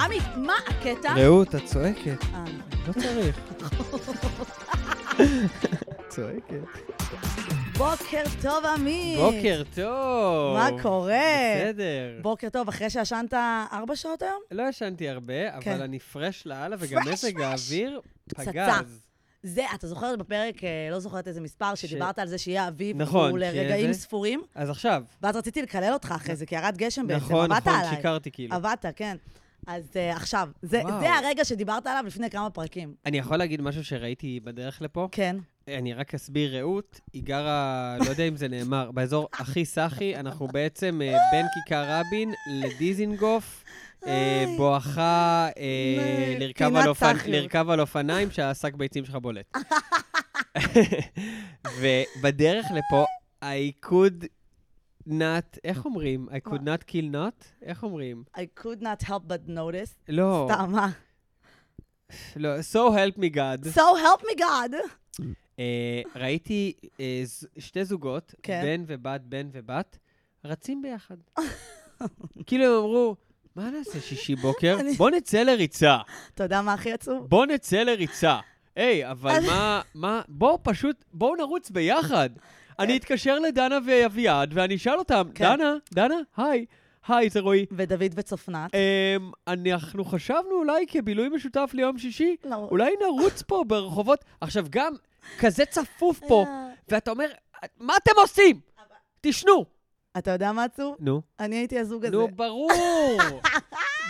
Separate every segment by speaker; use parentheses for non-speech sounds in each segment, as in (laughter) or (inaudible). Speaker 1: עמי, מה הקטע?
Speaker 2: רעות, את צועקת.
Speaker 1: אה, נכון. (laughs)
Speaker 2: לא צריך. צועקת.
Speaker 1: בוקר טוב, עמי.
Speaker 2: (laughs) בוקר טוב.
Speaker 1: מה קורה?
Speaker 2: בסדר.
Speaker 1: בוקר טוב, אחרי שישנת ארבע שעות היום?
Speaker 2: לא ישנתי הרבה,
Speaker 1: כן.
Speaker 2: אבל אני פרש לאללה, וגם
Speaker 1: פרש,
Speaker 2: מזג
Speaker 1: פרש.
Speaker 2: האוויר
Speaker 1: פצצה.
Speaker 2: פגז.
Speaker 1: זה, אתה זוכר בפרק, אה, לא זוכרת איזה מספר, שדיברת על זה שיהיה אביב,
Speaker 2: נכון,
Speaker 1: הוא
Speaker 2: שיהיה
Speaker 1: לרגעים
Speaker 2: זה.
Speaker 1: ספורים,
Speaker 2: אז עכשיו,
Speaker 1: ואז רציתי לקלל אותך אחרי זה, כי ירד גשם בעצם,
Speaker 2: נכון,
Speaker 1: עבדת
Speaker 2: נכון,
Speaker 1: עליי.
Speaker 2: שיקרתי כאילו.
Speaker 1: עבדת, כן. אז אה, עכשיו, זה
Speaker 2: וואו.
Speaker 1: זה הרגע שדיברת עליו לפני כמה פרקים.
Speaker 2: אני יכול להגיד משהו שראיתי בדרך לפה?
Speaker 1: כן.
Speaker 2: אני רק אסביר, רעות, היא גרה, לא יודע אם זה נאמר, באזור הכי סאחי, אנחנו בעצם אה, בין כיכר רבין לדיזינגוף, אה,
Speaker 1: איי.
Speaker 2: בואכה אה,
Speaker 1: איי,
Speaker 2: לרכב
Speaker 1: פינת
Speaker 2: על אופנ-
Speaker 1: סאחיות.
Speaker 2: לרכב על אופניים שהשק ביצים שלך
Speaker 1: (laughs)
Speaker 2: בולט. ובדרך לפה, I could not, איך אומרים? I could not kill not? איך אומרים?
Speaker 1: I could not help but notice.
Speaker 2: לא,
Speaker 1: סתם, מה?
Speaker 2: לא, so help me God.
Speaker 1: So help me God.
Speaker 2: אה, ראיתי אה, ז- שתי זוגות,
Speaker 1: כן.
Speaker 2: בן ובת, בן ובת,
Speaker 1: (laughs)
Speaker 2: רצים ביחד. כאילו הם אמרו, מה נעשה שישי בוקר?
Speaker 1: אני-
Speaker 2: בוא נצא לריצה.
Speaker 1: אתה יודע מה הכי עצוב?
Speaker 2: בוא נצא לריצה. היי, אבל
Speaker 1: אני-
Speaker 2: מה, מה, בואו פשוט, בואו נרוץ ביחד. אני אתקשר לדנה ואביעד, ואני אשאל אותם,
Speaker 1: אה. כן.
Speaker 2: דנה, דנה, היי, היי, זה רועי.
Speaker 1: ודוד וצופנת.
Speaker 2: אמ, אנחנו חשבנו אולי כבילוי משותף ליום שישי,
Speaker 1: לא.
Speaker 2: אה, אולי נרוץ פה ברחובות. עכשיו גם, כזה צפוף פה,
Speaker 1: אה.
Speaker 2: ואתה אומר, מה אתם עושים? תשנו.
Speaker 1: אתה יודע מה עצוב?
Speaker 2: נו.
Speaker 1: אני הייתי הזוג הזה.
Speaker 2: נו, ברור.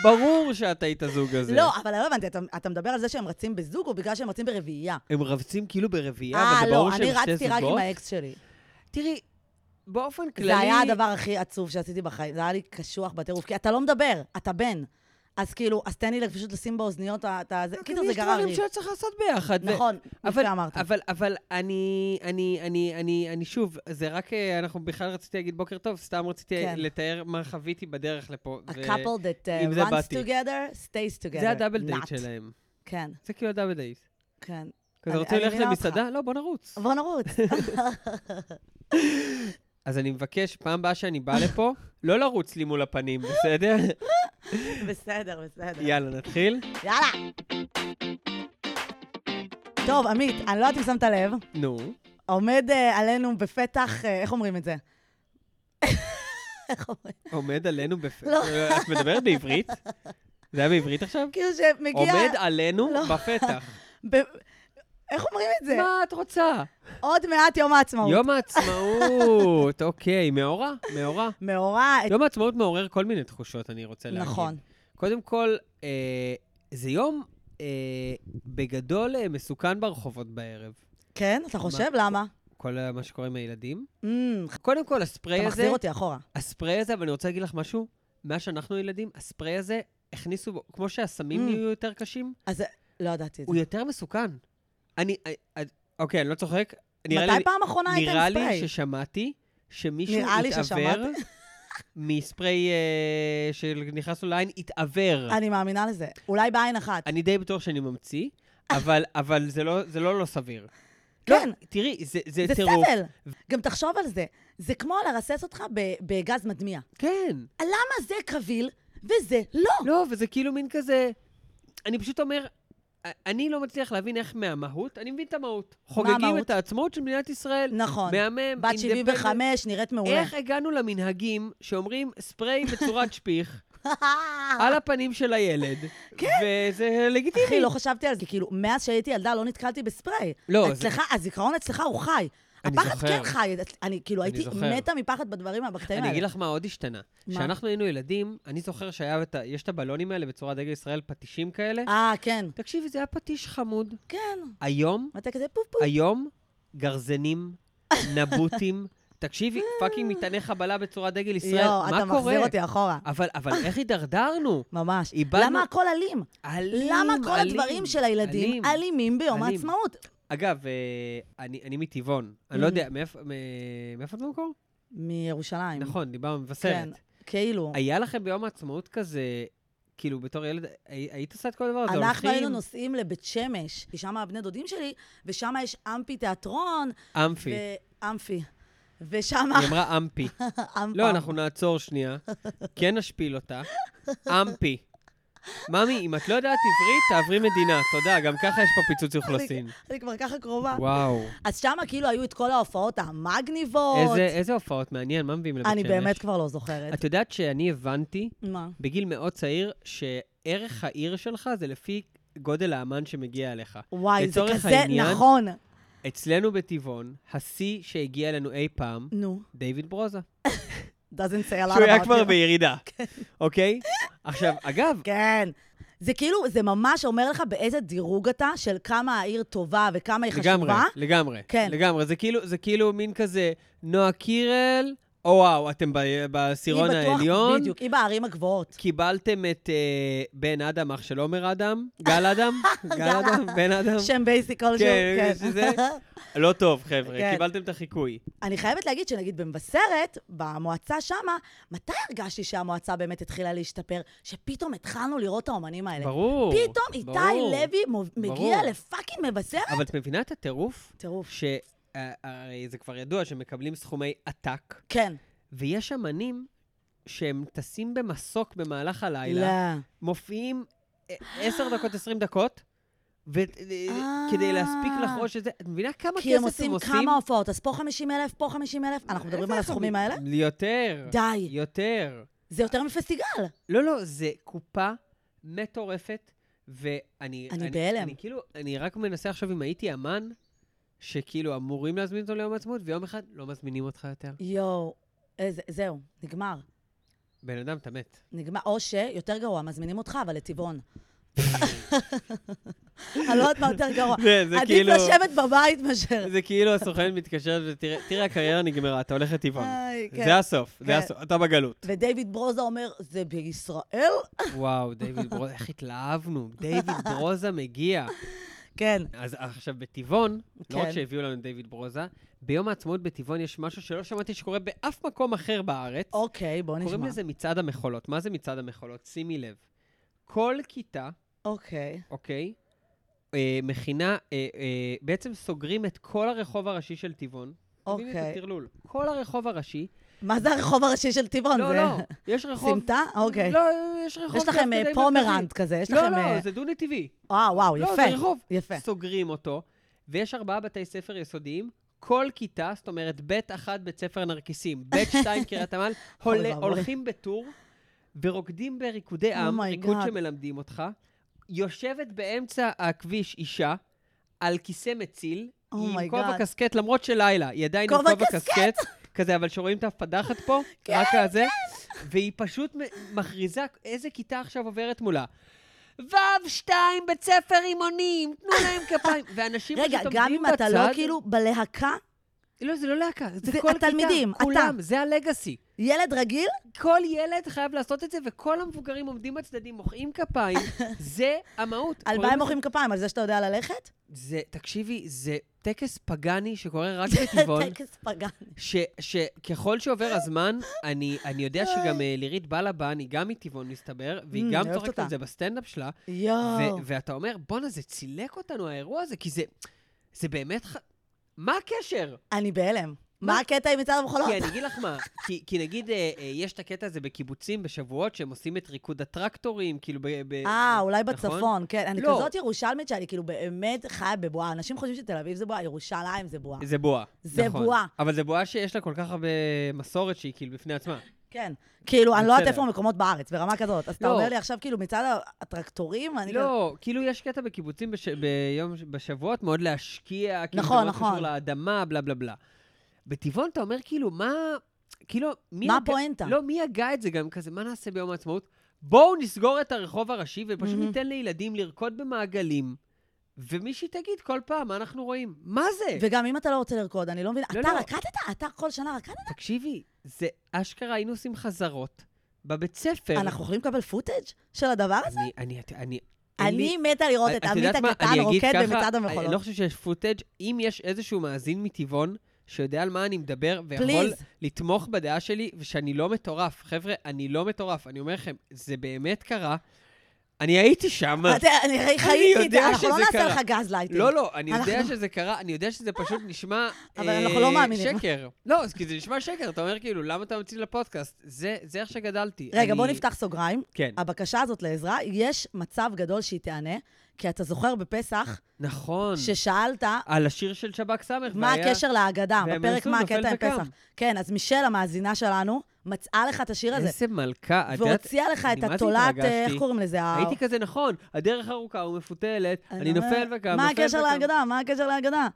Speaker 2: ברור שאתה היית הזוג הזה.
Speaker 1: לא, אבל לא הבנתי, אתה, אתה מדבר על זה שהם רצים בזוג, או בגלל שהם רצים ברביעייה?
Speaker 2: הם רבצים כאילו ברביעייה,
Speaker 1: אה,
Speaker 2: אבל זה
Speaker 1: לא,
Speaker 2: ברור שהם
Speaker 1: אני
Speaker 2: שתי זוגות.
Speaker 1: רצתי רק עם האקס שלי.
Speaker 2: תראי, באופן כללי...
Speaker 1: זה היה הדבר הכי עצוב שעשיתי בחיים, זה היה לי קשוח בטירוף, כי אתה לא מדבר, אתה בן. אז כאילו, אז תן לי פשוט לשים באוזניות, אתה... זה- קיצר, זה
Speaker 2: אוקיי, כן, יש
Speaker 1: גרר
Speaker 2: דברים
Speaker 1: לי.
Speaker 2: שצריך לעשות ביחד. ו-
Speaker 1: נכון,
Speaker 2: אבל,
Speaker 1: יפה אמרת.
Speaker 2: אבל, אבל אני, אני, אני, אני, אני שוב, זה רק, אה, אנחנו בכלל רציתי להגיד בוקר טוב, סתם רציתי
Speaker 1: כן.
Speaker 2: לתאר מה חוויתי בדרך לפה.
Speaker 1: A
Speaker 2: ו-
Speaker 1: couple that uh,
Speaker 2: עם זה
Speaker 1: runs
Speaker 2: באתי.
Speaker 1: together, stays together.
Speaker 2: זה הדאבל דייט
Speaker 1: Not.
Speaker 2: שלהם.
Speaker 1: כן,
Speaker 2: זה כאילו הדאבל דייט.
Speaker 1: כן.
Speaker 2: כזה
Speaker 1: אני-
Speaker 2: רוצים
Speaker 1: אני
Speaker 2: ללכת
Speaker 1: מבינה אותך.
Speaker 2: למסעדה? לא, בוא נרוץ.
Speaker 1: בוא
Speaker 2: (laughs)
Speaker 1: נרוץ.
Speaker 2: אז אני מבקש, פעם הבאה שאני בא לפה, (laughs) לא לרוץ לי מול הפנים,
Speaker 1: (laughs)
Speaker 2: בסדר?
Speaker 1: בסדר, בסדר.
Speaker 2: יאללה, נתחיל.
Speaker 1: יאללה. טוב, עמית, אני לא יודעת אם שמת לב,
Speaker 2: נו.
Speaker 1: עומד אה, עלינו בפתח, אה, איך אומרים את זה? איך אומרים?
Speaker 2: עומד עלינו בפתח...
Speaker 1: לא.
Speaker 2: את מדברת בעברית? זה היה בעברית עכשיו?
Speaker 1: כאילו שמגיע...
Speaker 2: עומד עלינו
Speaker 1: לא.
Speaker 2: בפתח.
Speaker 1: ב... איך אומרים את (laughs) זה?
Speaker 2: מה את רוצה?
Speaker 1: עוד מעט יום העצמאות.
Speaker 2: יום העצמאות, אוקיי, מאורע? מאורע.
Speaker 1: מאורע, את-
Speaker 2: יום העצמאות מעורר כל מיני תחושות, אני רוצה להגיד.
Speaker 1: נכון.
Speaker 2: קודם כל, אה, זה יום אה, בגדול אה, מסוכן ברחובות בערב.
Speaker 1: כן, אתה חושב? למה?
Speaker 2: כל ה- מה שקורה עם הילדים.
Speaker 1: Mm,
Speaker 2: קודם כל,
Speaker 1: אתה
Speaker 2: הספרי
Speaker 1: מחזיר
Speaker 2: הזה,
Speaker 1: אותי אחורה.
Speaker 2: הספרי הזה, אבל אני רוצה להגיד לך משהו, מאז שאנחנו ילדים, הספרי הזה, הכניסו, בו- כמו שהסמים
Speaker 1: Mm.
Speaker 2: נהיו יותר קשים,
Speaker 1: אז לא ידעתי את זה.
Speaker 2: הוא יותר מסוכן. אני, אה, אה, אוקיי, אני לא צוחק. נראה לי-
Speaker 1: מתי פעם אחרונה הייתם
Speaker 2: נראה לי
Speaker 1: ספרי?
Speaker 2: ששמעתי שמישהו
Speaker 1: נראה לי
Speaker 2: התעוור
Speaker 1: ששמעתי.
Speaker 2: (laughs) מספרי אה, שנכנס לו לעין, התעוור.
Speaker 1: אני מאמינה לזה. אולי בעין אחת.
Speaker 2: אני די בטוח שאני ממציא, אבל, אבל זה, לא, זה לא לא סביר.
Speaker 1: כן.
Speaker 2: לא, תראי, זה, זה,
Speaker 1: זה
Speaker 2: טירוף.
Speaker 1: סבל. גם תחשוב על זה. זה כמו לרסס אותך ב- בגז מדמיע.
Speaker 2: כן.
Speaker 1: למה זה קביל וזה לא?
Speaker 2: לא, וזה כאילו מין כזה... אני פשוט אומר, א- אני לא מצליח להבין איך מהמהות, אני מבין את המהות. חוגגים
Speaker 1: המהות?
Speaker 2: את העצמאות של מדינת ישראל.
Speaker 1: נכון.
Speaker 2: מהמם,
Speaker 1: בת
Speaker 2: אינדפנדנט.
Speaker 1: 75, נראית מעולה. (laughs)
Speaker 2: איך הגענו למנהגים שאומרים ספרי
Speaker 1: (laughs)
Speaker 2: בצורת שפיך על הפנים של הילד, וזה לגיטימי.
Speaker 1: כן. אחי, לא חשבתי על זה. כאילו, מאז שהייתי ילדה לא נתקלתי בספריי.
Speaker 2: לא, זה-
Speaker 1: אצלך, הזיכרון אצלך הוא חי.
Speaker 2: אני
Speaker 1: הפחד
Speaker 2: זוכר.
Speaker 1: כן חי. אני כאילו הייתי
Speaker 2: זוכר.
Speaker 1: מתה מפחד בדברים, בקטעים
Speaker 2: אני אגיד
Speaker 1: האלה.
Speaker 2: לך מה עוד השתנה.
Speaker 1: מה?
Speaker 2: כשאנחנו היינו ילדים, אני זוכר שהיה את ה- יש את הבלונים האלה בצורת דגל ישראל, פטישים כאלה.
Speaker 1: אה, כן.
Speaker 2: תקשיבי, זה היה פטיש חמוד.
Speaker 1: כן.
Speaker 2: היום,
Speaker 1: ואתה כזה פופ פופ.
Speaker 2: היום, גרזנים, נבוטים. תקשיבי, פאקינג מטעני חבלה בצורת דגל ישראל,
Speaker 1: יואו,
Speaker 2: מה
Speaker 1: לא, אתה
Speaker 2: קורה?
Speaker 1: מחזיר אותי אחורה.
Speaker 2: אבל, אבל איך הידרדרנו?
Speaker 1: ממש.
Speaker 2: איבדנו-
Speaker 1: למה הכל אלים?
Speaker 2: אלים,
Speaker 1: למה כל
Speaker 2: אלים,
Speaker 1: הדברים של הילדים
Speaker 2: אלים.
Speaker 1: אלימים ביום
Speaker 2: אלים.
Speaker 1: העצמאות?
Speaker 2: אגב, אה, אני, אני מטבעון. אני לא
Speaker 1: Mm.
Speaker 2: יודע, מאיפה, מ- מאיפה את במקור?
Speaker 1: מירושלים.
Speaker 2: נכון, דיברנו מבשרת.
Speaker 1: כאילו.
Speaker 2: היה לכם ביום העצמאות כזה, כאילו, בתור ילד, הי- היית עושה את כל הדבר הזה?
Speaker 1: אנחנו היינו
Speaker 2: הולכים?
Speaker 1: נוסעים לבית שמש, כי שם הבני דודים שלי, ושם יש אמפי תיאטרון,
Speaker 2: אמפי.
Speaker 1: אה, ואמפי. ושם...
Speaker 2: היא אמרה אמפי.
Speaker 1: אמפה.
Speaker 2: לא, אנחנו נעצור שנייה. כן נשפיל אותה. אמפי. ממי, אם את לא יודעת עברית, תעברי מדינה. תודה, גם ככה יש פה פיצוץ אוכלוסין.
Speaker 1: אני כבר ככה קרובה.
Speaker 2: וואו.
Speaker 1: אז שמה כאילו היו את כל ההופעות המגניבות.
Speaker 2: איזה- איזה הופעות מעניין, מה מביאים לבית שמש?
Speaker 1: אני באמת כבר לא זוכרת.
Speaker 2: את יודעת שאני הבנתי
Speaker 1: מה?
Speaker 2: בגיל מאוד צעיר שערך העיר שלך זה לפי גודל האמן שמגיע אליך.
Speaker 1: וואי, זה
Speaker 2: לצורך
Speaker 1: כזה
Speaker 2: העניין-
Speaker 1: נכון.
Speaker 2: אצלנו בטבעון, השיא שהגיע אלינו אי פעם,
Speaker 1: נו,
Speaker 2: דיוויד ברוזה.
Speaker 1: doesn't say a lot about
Speaker 2: שהוא היה כבר
Speaker 1: you.
Speaker 2: בירידה, אוקיי? עכשיו, אגב,
Speaker 1: כן. זה כאילו, זה ממש אומר לך באיזה דירוג אתה, של כמה העיר טובה וכמה היא חשובה.
Speaker 2: לגמרי, לגמרי.
Speaker 1: כן.
Speaker 2: לגמרי, זה כאילו, זה כאילו מין כזה, נועה קירל, או וואו, אתם ב-
Speaker 1: היא
Speaker 2: בעשירון
Speaker 1: בטוח-
Speaker 2: העליון.
Speaker 1: בדיוק, היא בערים הגבוהות.
Speaker 2: קיבלתם את אה, בן אדם, אח של עומר אדם, גל אדם, גל
Speaker 1: (laughs) גל
Speaker 2: אדם, בן אדם.
Speaker 1: שם בייסי כלשהו,
Speaker 2: כן,
Speaker 1: כן.
Speaker 2: שזה- לא טוב, חבר'ה,
Speaker 1: כן.
Speaker 2: קיבלתם את החיקוי.
Speaker 1: (laughs) אני חייבת להגיד שנגיד במבשרת, במועצה שמה, מתי הרגשתי שהמועצה באמת התחילה להשתפר? שפתאום התחלנו לראות את האומנים האלה.
Speaker 2: ברור.
Speaker 1: כן. פתאום איתי
Speaker 2: ברור.
Speaker 1: לוי מוב-
Speaker 2: ברור.
Speaker 1: מגיע לפאקינג מבשרת?
Speaker 2: אבל את מבינה את הטירוף?
Speaker 1: טירוף.
Speaker 2: שהרי זה כבר ידוע שמקבלים סכומי עתק,
Speaker 1: כן.
Speaker 2: ויש אמנים שהם טסים במסוק במהלך
Speaker 1: לא.
Speaker 2: הלילה, מופיעים אה, 10 דקות, 20 דקות,
Speaker 1: אה.
Speaker 2: וכדי להספיק לחרוש את זה, את מבינה כמה כסף
Speaker 1: כי הם עושים כמה הופעות, אז פה 50 אלף, פה 50 אלף, אנחנו מדברים על
Speaker 2: איפה? אה.
Speaker 1: הסכומים האלה?
Speaker 2: יותר.
Speaker 1: די,
Speaker 2: יותר.
Speaker 1: זה יותר מפסטיגל.
Speaker 2: לא, לא, זה קופה מטורפת, ואני...
Speaker 1: אני בהלם.
Speaker 2: אני כאילו, אני רק מנסה עכשיו אם הייתי אמן, שכאילו אמורים להזמין אותו ליום העצמאות, ויום אחד לא מזמינים אותך יותר.
Speaker 1: יואו, איזה- זהו, נגמר.
Speaker 2: בן אדם,
Speaker 1: (laughs)
Speaker 2: אתה מת.
Speaker 1: נגמר, או שיותר גרוע, מזמינים אותך, אבל
Speaker 2: (laughs)
Speaker 1: לטבעון. אני לא יודעת מה יותר גרוע.
Speaker 2: זה, זה
Speaker 1: עדיף
Speaker 2: כאילו...
Speaker 1: לשבת בבית מאשר...
Speaker 2: זה כאילו הסוכנת מתקשרת ותראה, תראה, הקריירה נגמרה, אתה הולך לטבעון.
Speaker 1: איי, כן.
Speaker 2: נכון. זה הסוף,
Speaker 1: כן.
Speaker 2: זה הסוף, אתה בגלות.
Speaker 1: ודייוויד ברוזה אומר, זה בישראל?
Speaker 2: וואו, דיוויד ברוזה, איך התלהבנו, דיוויד ברוזה מגיע.
Speaker 1: כן.
Speaker 2: אז עכשיו בטבעון, לא רק
Speaker 1: כן.
Speaker 2: שהביאו לנו את דיוויד ברוזה, ביום העצמאות בטבעון יש משהו שלא שמעתי שקורה באף מקום אחר בארץ.
Speaker 1: אוקיי, בוא
Speaker 2: קוראים
Speaker 1: נשמע.
Speaker 2: לזה מצעד המחולות. מה זה מצעד המחולות? שימי לב. כל כיתה,
Speaker 1: אוקיי.
Speaker 2: אוקיי, אה, מכינה, אה, אה, בעצם סוגרים את כל הרחוב הראשי של טבעון. תביני את
Speaker 1: אוקיי.
Speaker 2: הטרלול. כל הרחוב הראשי.
Speaker 1: מה זה הרחוב הראשי של טבעון?
Speaker 2: לא,
Speaker 1: אה, זה- (laughs)
Speaker 2: לא, יש רחוב...
Speaker 1: סמטה? אוקיי.
Speaker 2: לא, יש רחוב...
Speaker 1: יש
Speaker 2: זה
Speaker 1: לכם
Speaker 2: עד
Speaker 1: אה,
Speaker 2: כדי
Speaker 1: פומרנט כזה, יש
Speaker 2: מרכזי. לא,
Speaker 1: לכם... אה,
Speaker 2: לא, זה דו-נטיבי.
Speaker 1: וואו, וואו,
Speaker 2: לא,
Speaker 1: יפה.
Speaker 2: זה רחוב.
Speaker 1: יפה.
Speaker 2: סוגרים אותו, ויש ארבעה בתי ספר יסודיים. כל כיתה, זאת אומרת, בית אחת בית ספר נרקיסים,
Speaker 1: (laughs)
Speaker 2: בית שתיים קריית עמל,
Speaker 1: אוי
Speaker 2: הול-
Speaker 1: ואבוי. Oh
Speaker 2: הולכים בטור ורוקדים בריקודי עם,
Speaker 1: my
Speaker 2: ריקוד
Speaker 1: God.
Speaker 2: שמלמדים אותך, יושבת באמצע הכביש אישה על כיסא מציל,
Speaker 1: Oh
Speaker 2: היא עם
Speaker 1: my
Speaker 2: כובע
Speaker 1: God.
Speaker 2: קסקט, למרות שלילה, היא עדיין עם
Speaker 1: כובע
Speaker 2: כובע קסקט, כזה, אבל שרואים את הפדחת פה,
Speaker 1: (laughs) כן,
Speaker 2: רק הזה, והיא פשוט מ- מכריזה איזה כיתה עכשיו עוברת מולה. ו' שתיים, בית ספר רימונים, תנו להם
Speaker 1: (laughs)
Speaker 2: כפיים. ואנשים
Speaker 1: רגע,
Speaker 2: פשוט
Speaker 1: גם
Speaker 2: עומדים
Speaker 1: אם אתה
Speaker 2: בצד-
Speaker 1: לא כאילו בלהקה,
Speaker 2: לא, זה לא להקה, זה
Speaker 1: זה
Speaker 2: כל כיתה.
Speaker 1: התלמידים, אתה.
Speaker 2: כולם, זה הלגאסי.
Speaker 1: ילד רגיל,
Speaker 2: כל ילד חייב לעשות את זה, וכל המבוגרים עומדים בצדדים, מוחאים
Speaker 1: (laughs)
Speaker 2: כפיים. זה המהות.
Speaker 1: על מה
Speaker 2: קוראים
Speaker 1: הם מוחאים כפיים? על זה שאתה יודע
Speaker 2: (laughs)
Speaker 1: ללכת?
Speaker 2: זה, תקשיבי, זה טקס פגאני שקורה
Speaker 1: (laughs)
Speaker 2: רק בטבעון.
Speaker 1: טקס פגן.
Speaker 2: ש- שככל שעובר הזמן, אני, אני יודע שגם אה, לירית בלבן, היא גם מטבעון, מסתבר, והיא
Speaker 1: Mm,
Speaker 2: גם
Speaker 1: אני אוהבת
Speaker 2: צוחקת על
Speaker 1: אותה.
Speaker 2: זה בסטנדאפ שלה,
Speaker 1: יואו.
Speaker 2: ו- ואתה אומר, בואנה, זה צילק אותנו, האירוע הזה, כי זה, זה באמת... ח... מה הקשר?
Speaker 1: אני בהלם.
Speaker 2: מה?
Speaker 1: מה הקטע עם מצעד המחולות?
Speaker 2: כי אני אגיד לך מה, כי, כי נגיד, אה, אה, יש את הקטע הזה בקיבוצים, בשבועות, שהם עושים את ריקוד הטרקטורים, כאילו ב... ב-
Speaker 1: אה, אולי
Speaker 2: נכון?
Speaker 1: בצפון, כן. אני
Speaker 2: לא.
Speaker 1: כזאת ירושלמית שאני כאילו באמת חיה בבועה. אנשים חושבים שתל אביב זה בועה, ירושלים זה בועה.
Speaker 2: זה בועה.
Speaker 1: זה
Speaker 2: נכון.
Speaker 1: בועה.
Speaker 2: אבל זה בועה שיש לה כל כך הרבה מסורת שהיא כאילו בפני עצמה.
Speaker 1: כן. כאילו, אני לא יודעת
Speaker 2: בסדר.
Speaker 1: איפה המקומות בארץ, ברמה כזאת. אז אתה
Speaker 2: לא.
Speaker 1: אומר לי עכשיו כאילו מצעד הטרקטורים, אני כזה...
Speaker 2: לא, כאילו יש קטע בקיבוצים בש... ביום... בשבועות מאוד להשקיע, כאילו
Speaker 1: נכון,
Speaker 2: זה מאוד
Speaker 1: נכון.
Speaker 2: קשור לאדמה, בלה בלה בלה. בטבעון אתה אומר כאילו, מה... כאילו, מי
Speaker 1: מה
Speaker 2: הגה-
Speaker 1: הפואנטה?
Speaker 2: לא, מי הגה את זה גם כזה? מה נעשה ביום העצמאות? בואו נסגור את הרחוב הראשי ופשוט
Speaker 1: מהמם.
Speaker 2: ניתן לילדים לרקוד במעגלים, ומישהי תגיד כל פעם מה אנחנו רואים. מה זה?
Speaker 1: וגם אם אתה לא רוצה לרקוד, אני לא מבינה.
Speaker 2: לא,
Speaker 1: אתה
Speaker 2: לא.
Speaker 1: רקדת? אתה כל שנה רקדת?
Speaker 2: תקשיבי, זה אשכרה היינו עושים חזרות בבית ספר.
Speaker 1: אנחנו יכולים לקבל פוטאג' של הדבר הזה?
Speaker 2: אני, אני, אני, אין לי-
Speaker 1: אני מתה לראות את עמית
Speaker 2: יודעת מה?
Speaker 1: הקטן
Speaker 2: אני אגיד
Speaker 1: רוקד
Speaker 2: ככה,
Speaker 1: במצעד
Speaker 2: אני לא
Speaker 1: המחולות.
Speaker 2: חושב שיש פוטאג'. אם יש איזשהו מאזין מטבעון שיודע על מה אני מדבר, ויכול
Speaker 1: פליז.
Speaker 2: לתמוך בדעה שלי, ושאני לא מטורף. חבר'ה, אני לא מטורף. אני אומר לכם, זה באמת קרה. אני הייתי שם.
Speaker 1: אתה- אני חייתי את
Speaker 2: יודע
Speaker 1: זה, אנחנו לא
Speaker 2: שזה
Speaker 1: נעשה
Speaker 2: קרה.
Speaker 1: לך גז לייטינג.
Speaker 2: לא, לא, אני יודע
Speaker 1: אנחנו-
Speaker 2: שזה קרה, אני יודע שזה פשוט נשמע...
Speaker 1: (laughs) אבל
Speaker 2: אה,
Speaker 1: אנחנו לא מאמינים.
Speaker 2: שקר. לא, אז כי זה נשמע שקר, אתה אומר כאילו, למה אתה ממציא לפודקאסט? זה זה איך שגדלתי.
Speaker 1: רגע,
Speaker 2: אני-
Speaker 1: בוא נפתח סוגריים.
Speaker 2: כן.
Speaker 1: הבקשה הזאת לעזרה, יש מצב גדול שהיא תיענה, כי אתה זוכר בפסח,
Speaker 2: נכון.
Speaker 1: ששאלת
Speaker 2: על השיר של שב"כ ס' והיה...
Speaker 1: מה הקשר להגדה,
Speaker 2: והם
Speaker 1: בפרק
Speaker 2: עשו,
Speaker 1: מה
Speaker 2: נופל
Speaker 1: הקטע עם
Speaker 2: זקם.
Speaker 1: פסח. כן, אז מישל, המאזינה שלנו, מצאה לך את השיר הזה,
Speaker 2: איזה מלכה. את יודעת,
Speaker 1: והוציאה לך
Speaker 2: אני
Speaker 1: את
Speaker 2: מה זה
Speaker 1: התולעת, אה, איך
Speaker 2: התרגשתי?
Speaker 1: קוראים לזה? ה-
Speaker 2: הייתי כזה נכון, הדרך ארוכה ומפותלת, אני
Speaker 1: אומר,
Speaker 2: נופל וקם,
Speaker 1: מה
Speaker 2: נופל
Speaker 1: הקשר
Speaker 2: וקם."
Speaker 1: להגדה? מה הקשר להגדה?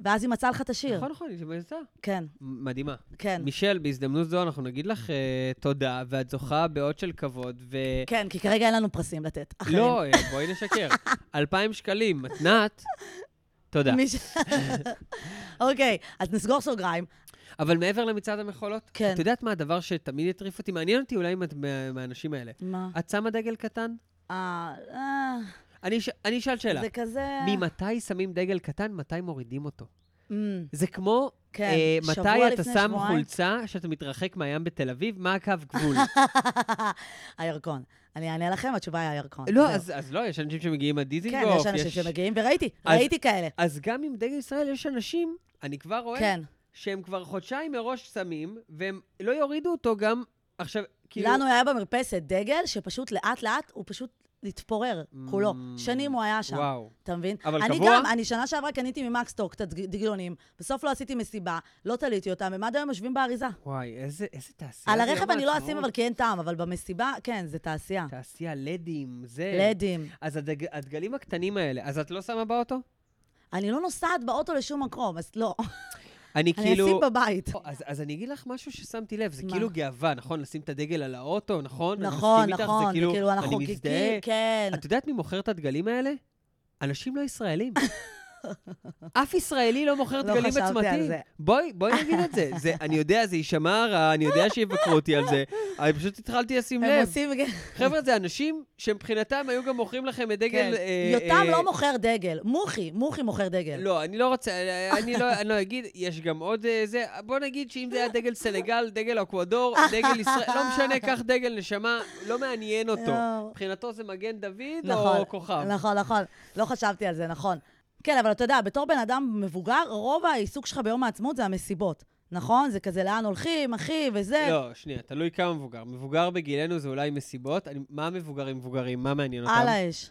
Speaker 1: ואז היא מצאה לך את השיר.
Speaker 2: נכון, נכון, היא שמעתה.
Speaker 1: כן,
Speaker 2: מדהימה.
Speaker 1: כן.
Speaker 2: מישל, בהזדמנות זו אנחנו נגיד לך אה, תודה, ואת זוכה באות של כבוד, ו...
Speaker 1: כן, כי כרגע אין לנו פרסים לתת. אחרים.
Speaker 2: לא, אה,
Speaker 1: (laughs)
Speaker 2: בואי נשקר. אלפיים שקלים, מתנת, תודה.
Speaker 1: מי ש-
Speaker 2: (laughs)
Speaker 1: אוקיי, אז נסגור סוגריים.
Speaker 2: אבל מעבר למצעד המחולות,
Speaker 1: כן.
Speaker 2: את יודעת מה הדבר שתמיד הטריף אותי? מעניין אותי אולי אם את מה- מהאנשים האלה.
Speaker 1: מה?
Speaker 2: את שמה דגל קטן?
Speaker 1: אה, אה,
Speaker 2: אני אש- אני אשאל שאלה.
Speaker 1: זה כזה...
Speaker 2: ממתי שמים דגל קטן, מתי מורידים אותו?
Speaker 1: מ,
Speaker 2: זה כמו,
Speaker 1: כן,
Speaker 2: אה,
Speaker 1: שבוע
Speaker 2: מתי אתה
Speaker 1: לפני
Speaker 2: שם
Speaker 1: שבועיים.
Speaker 2: חולצה שאתה מתרחק מהים בתל אביב, מה הקו גבול?
Speaker 1: (laughs) הירקון. אני אענה לכם, התשובה היא הירקון.
Speaker 2: לא,
Speaker 1: זהו.
Speaker 2: אז אז לא, יש אנשים שמגיעים עד
Speaker 1: כן,
Speaker 2: דיזינגוף.
Speaker 1: יש אנשים שמגיעים, וראיתי,
Speaker 2: אז-
Speaker 1: ראיתי כאלה.
Speaker 2: אז גם עם דגל ישראל יש אנשים, אני כבר רואה,
Speaker 1: כן.
Speaker 2: שהם כבר חודשיים מראש שמים, והם לא יורידו אותו גם עכשיו, כאילו...
Speaker 1: לנו היה במרפסת דגל שפשוט לאט-לאט הוא פשוט התפורר, כולו.
Speaker 2: Mm.
Speaker 1: שנים הוא היה שם.
Speaker 2: וואו.
Speaker 1: אתה מבין?
Speaker 2: אבל
Speaker 1: אני
Speaker 2: קבוע?
Speaker 1: גם, אני שנה שעברה קניתי ממקסטוק את הדגלונים, בסוף לא עשיתי מסיבה, לא תליתי אותם, הם עד היום יושבים באריזה.
Speaker 2: וואי, איזה, איזה תעשייה.
Speaker 1: על
Speaker 2: זה,
Speaker 1: הרכב
Speaker 2: יום
Speaker 1: אני לא
Speaker 2: העצמאות.
Speaker 1: אשים, אבל כי אין טעם, אבל במסיבה, כן, זה תעשייה.
Speaker 2: תעשייה, לדים, זה...
Speaker 1: לדים.
Speaker 2: אז הדג... הדגלים הקטנים האלה, אז את לא שמה באוטו?
Speaker 1: אני לא נוסעת באוטו לשום מקום, אז
Speaker 2: (laughs)
Speaker 1: לא.
Speaker 2: אני
Speaker 1: אני
Speaker 2: כאילו...
Speaker 1: אשים בבית.
Speaker 2: או, אז, אז אני אגיד לך משהו ששמתי לב, זה
Speaker 1: מה?
Speaker 2: כאילו גאווה, נכון? לשים את הדגל על האוטו, נכון? אני
Speaker 1: נכון,
Speaker 2: מסכים איתך,
Speaker 1: נכון,
Speaker 2: זה כאילו,
Speaker 1: אנחנו
Speaker 2: אני
Speaker 1: חוגגים,
Speaker 2: מזדהה.
Speaker 1: כן.
Speaker 2: את יודעת מי מוכר את הדגלים האלה? אנשים לא
Speaker 1: (laughs)
Speaker 2: ישראלים. אף ישראלי לא מוכר
Speaker 1: לא
Speaker 2: דגלים
Speaker 1: חשבתי על
Speaker 2: בצמתים.
Speaker 1: זה.
Speaker 2: בואי, בואי נגיד את זה. זה. אני יודע, זה יישמע רע, אני יודע שיבקרו
Speaker 1: (laughs)
Speaker 2: אותי על זה. אני פשוט התחלתי לשים
Speaker 1: הם
Speaker 2: לב.
Speaker 1: עושים...
Speaker 2: חבר'ה, זה אנשים שמבחינתם היו גם מוכרים לכם את
Speaker 1: כן.
Speaker 2: דגל... אה,
Speaker 1: יותם
Speaker 2: אה,
Speaker 1: לא מוכר דגל, מוחי, מוחי מוכר דגל.
Speaker 2: לא, אני לא רוצה, אה, אני לא, אני לא אגיד, יש גם עוד אה, זה, בוא נגיד שאם זה היה דגל סנגל, דגל אקוודור, דגל ישראל, לא משנה, קח דגל נשמה, לא מעניין אותו.
Speaker 1: יואו.
Speaker 2: מבחינתו זה מגן דוד
Speaker 1: אה. נכון,
Speaker 2: או כוכב.
Speaker 1: נכון, נכון. לא חשבתי על זה, נכון. כן, אבל אתה יודע, בתור בן אדם מבוגר, רוב העיסוק שלך ביום העצמאות זה המסיבות, נכון? זה כזה לאן הולכים, אחי, וזה.
Speaker 2: לא, שנייה, תלוי כמה מבוגר. מבוגר בגילנו זה אולי מסיבות. אני, מה מבוגרים מבוגרים? מה מעניין אותם?
Speaker 1: על האש.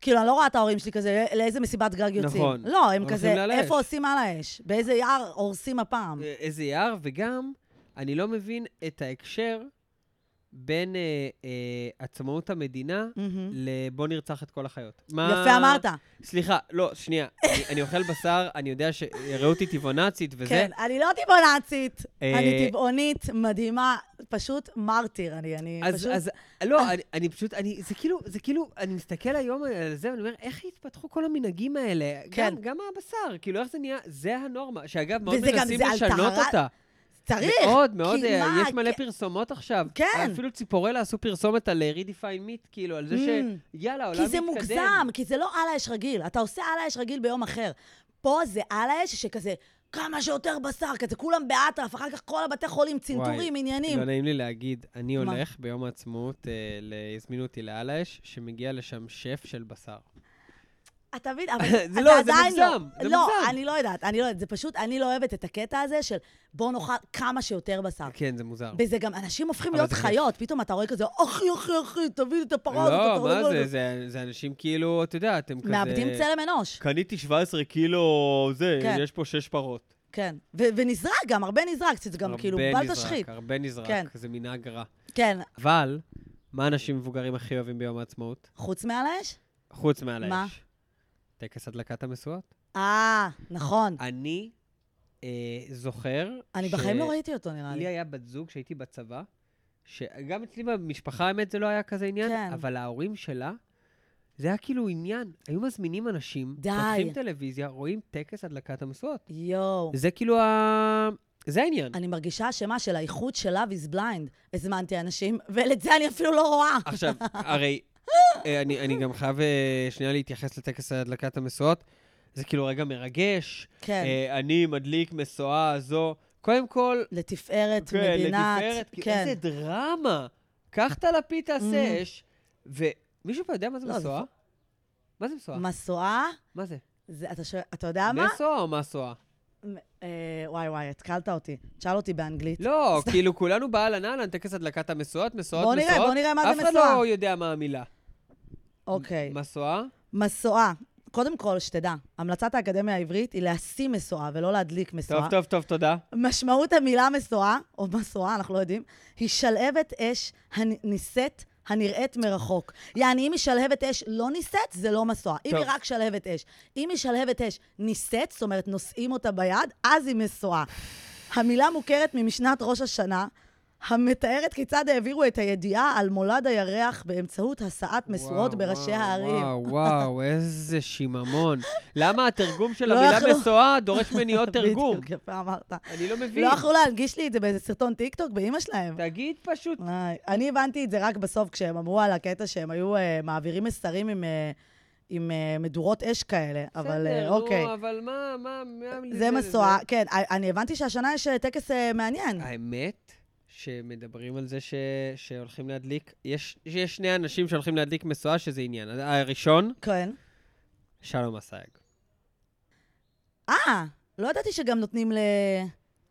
Speaker 1: כאילו, אני לא רואה את ההורים שלי כזה, "לא- לאיזה מסיבת גג יוצאים.
Speaker 2: נכון.
Speaker 1: לא, הם
Speaker 2: הולכים
Speaker 1: כזה,
Speaker 2: לעל האש.
Speaker 1: איפה עושים על האש? באיזה יער הורסים הפעם?
Speaker 2: אה, איזה יער, וגם, אני לא מבין את ההקשר בין אה, אה, עצמאות המדינה
Speaker 1: מהמם.
Speaker 2: לבוא נרצח את כל החיות. מה...
Speaker 1: Mm-hmm. יפה אמרת.
Speaker 2: סליחה, לא, שנייה. אני, אני אוכל בשר, אני יודע שראו אותי טבעונצית וזה.
Speaker 1: כן, אני לא טבעונצית,
Speaker 2: אה,
Speaker 1: אני טבעונית מדהימה, פשוט מרטיר אני, אני
Speaker 2: אז,
Speaker 1: כן, פשוט... אה.
Speaker 2: אז, לא, אני, אני פשוט, אני, זה כאילו, זה כאילו, אני מסתכל היום על זה, ואני אומר, איך התפתחו כל המנהגים האלה?
Speaker 1: כן.
Speaker 2: גם, גם הבשר, כאילו, איך זה נהיה, זה הנורמה, שאגב, מאוד
Speaker 1: וזה גם-
Speaker 2: מנסים
Speaker 1: זה על
Speaker 2: לשנות
Speaker 1: טהרת-
Speaker 2: אותה.
Speaker 1: צריך!
Speaker 2: מאוד, מאוד,
Speaker 1: כי
Speaker 2: אה,
Speaker 1: מה,
Speaker 2: יש מלא
Speaker 1: כן.
Speaker 2: פרסומות עכשיו.
Speaker 1: כן.
Speaker 2: אפילו ציפורלה עשו פרסומת על רידיפיין מיט, כאילו, על זה ש...
Speaker 1: Mm.
Speaker 2: יאללה, העולם
Speaker 1: כי
Speaker 2: מתקדם.
Speaker 1: זה מוגזם, כי זה לא על האש רגיל. אתה עושה על האש רגיל ביום אחר. פה זה על האש שכזה, כמה שיותר בשר, כזה כולם באטרף, אחר כך כל הבתי חולים, צנתורים, עניינים.
Speaker 2: לא נעים לי להגיד, אני
Speaker 1: מה?
Speaker 2: הולך ביום העצמאות, אה, ל- הזמינו אותי לעל האש, שמגיע לשם שף של בשר.
Speaker 1: אתה מבין, אבל
Speaker 2: (laughs) זה
Speaker 1: אתה
Speaker 2: לא, זה
Speaker 1: עדיין
Speaker 2: מוגזם, זה
Speaker 1: לא, לא,
Speaker 2: מוגזם.
Speaker 1: אני לא יודעת, אני לא יודעת, זה פשוט, אני לא אוהבת את הקטע הזה של בוא נאכל כמה שיותר בשר.
Speaker 2: כן, זה מוזר.
Speaker 1: וזה גם, אנשים הופכים
Speaker 2: אבל
Speaker 1: להיות
Speaker 2: זה כיף.
Speaker 1: חיות, פתאום אתה רואה כזה, אחי, אחי, אחי, תביא לי את הפרה הזאת.
Speaker 2: לא,
Speaker 1: אתה-
Speaker 2: מה זה, זה, זה אנשים כאילו, את יודעת, הם כזה...
Speaker 1: מאבדים צלם אנוש,
Speaker 2: קניתי 17 קילו, זה,
Speaker 1: כן.
Speaker 2: יש פה 6 פרות.
Speaker 1: כן. ו- ונזרק גם, הרבה נזרק, זה גם כאילו,
Speaker 2: הרבה
Speaker 1: בל
Speaker 2: נזרק,
Speaker 1: תשחית.
Speaker 2: הרבה נזרק,
Speaker 1: כן.
Speaker 2: זה מנהג רע.
Speaker 1: כן,
Speaker 2: אבל, מה אנשים מבוגרים הכי אוהבים ביום העצמאות?
Speaker 1: חוץ מעל האש?
Speaker 2: חוץ מעל האש.
Speaker 1: מה?
Speaker 2: טקס הדלקת המשואות.
Speaker 1: אה, נכון.
Speaker 2: אני אה, זוכר...
Speaker 1: אני
Speaker 2: ש-
Speaker 1: בחיים לא ראיתי אותו, נראה
Speaker 2: לי
Speaker 1: לי.
Speaker 2: היה בת זוג שהייתי בצבא, שגם אצלי במשפחה, האמת, זה לא היה כזה עניין,
Speaker 1: כן.
Speaker 2: אבל ההורים שלה, זה היה כאילו עניין. היו מזמינים אנשים,
Speaker 1: די.
Speaker 2: פותחים טלוויזיה, רואים טקס הדלקת המשואות.
Speaker 1: יואו.
Speaker 2: זה כאילו ה... זה העניין.
Speaker 1: אני מרגישה אשמה של האיכות של Love is Blind. הזמנתי אנשים, ולזה אני אפילו לא רואה. (laughs)
Speaker 2: עכשיו, הרי אה, אני, אני גם חייב אה, שנייה להתייחס לטקס הדלקת המשואות. זה כאילו רגע מרגש.
Speaker 1: כן,
Speaker 2: אה, אני מדליק משואה זו. קודם כל,
Speaker 1: לתפארת
Speaker 2: כן,
Speaker 1: מדינת...
Speaker 2: לתפארת, כאילו,
Speaker 1: כן,
Speaker 2: איזה דרמה. קח את הלפיד,
Speaker 1: Mhm.
Speaker 2: תעשה אש, ו- מישהו פה יודע מה זה
Speaker 1: לא, זה
Speaker 2: מסועה?
Speaker 1: פ-
Speaker 2: מה זה מסועה?
Speaker 1: מסועה,
Speaker 2: מה זה?
Speaker 1: זה, אתה, שואל, אתה יודע אה, מה?
Speaker 2: מסועה או מסועה?
Speaker 1: אה, וואי, וואי, התקלת אותי. תשאל אותי באנגלית. (laughs)
Speaker 2: לא, כאילו כולנו באהלן אהלן, טקס הדלקת המשואות, מסועות,
Speaker 1: בוא
Speaker 2: מסועות.
Speaker 1: נראה, בוא נראה מה זה
Speaker 2: אף אחד
Speaker 1: מסועה.
Speaker 2: לא יודע מה המילה.
Speaker 1: אוקיי.
Speaker 2: מסועה?
Speaker 1: מסועה. קודם כל, שתדע, המלצת האקדמיה העברית היא להשיא מסועה ולא להדליק מסועה.
Speaker 2: טוב, טוב, טוב, תודה.
Speaker 1: משמעות המילה מסועה, או מסועה, אנחנו לא יודעים, היא שלהבת אש הנישאת, הנראית מרחוק. יעני, אם היא שלהבת אש לא נישאת, זה לא מסועה. אם
Speaker 2: טוב.
Speaker 1: היא רק שלהבת אש. אם היא שלהבת אש נישאת, זאת אומרת, נושאים אותה ביד, אז היא מסועה. המילה מוכרת ממשנת ראש השנה, המתארת כיצד העבירו את הידיעה על מולד הירח באמצעות הסעת משואות
Speaker 2: וואו,
Speaker 1: בראשי
Speaker 2: וואו,
Speaker 1: הערים.
Speaker 2: וואו,
Speaker 1: (laughs)
Speaker 2: וואו, איזה שיממון. למה התרגום של
Speaker 1: לא
Speaker 2: המילה
Speaker 1: יכלו.
Speaker 2: מסועה דורש מניעות לא
Speaker 1: (laughs)
Speaker 2: תרגום?
Speaker 1: בדיוק, יפה אמרת.
Speaker 2: אני לא מבין.
Speaker 1: לא יכלו להנגיש לי את זה באיזה סרטון טיקטוק באימא שלהם.
Speaker 2: תגיד פשוט.
Speaker 1: איי, אני הבנתי את זה רק בסוף, כשהם אמרו על הקטע שהם היו אה, מעבירים מסרים עם, אה, עם אה, מדורות אש כאלה, אבל אה,
Speaker 2: בסדר,
Speaker 1: אוקיי.
Speaker 2: נו, אבל מה, מה, מה...
Speaker 1: זה מסועה, כן, אה, אני הבנתי שהשנה יש אה, טקס אה, מעניין.
Speaker 2: האמת, שמדברים על זה ש... שהולכים להדליק, יש, יש שני אנשים שהולכים להדליק משואה שזה עניין. הראשון,
Speaker 1: כן.
Speaker 2: שלום אסייג.
Speaker 1: אה, לא ידעתי שגם נותנים ל...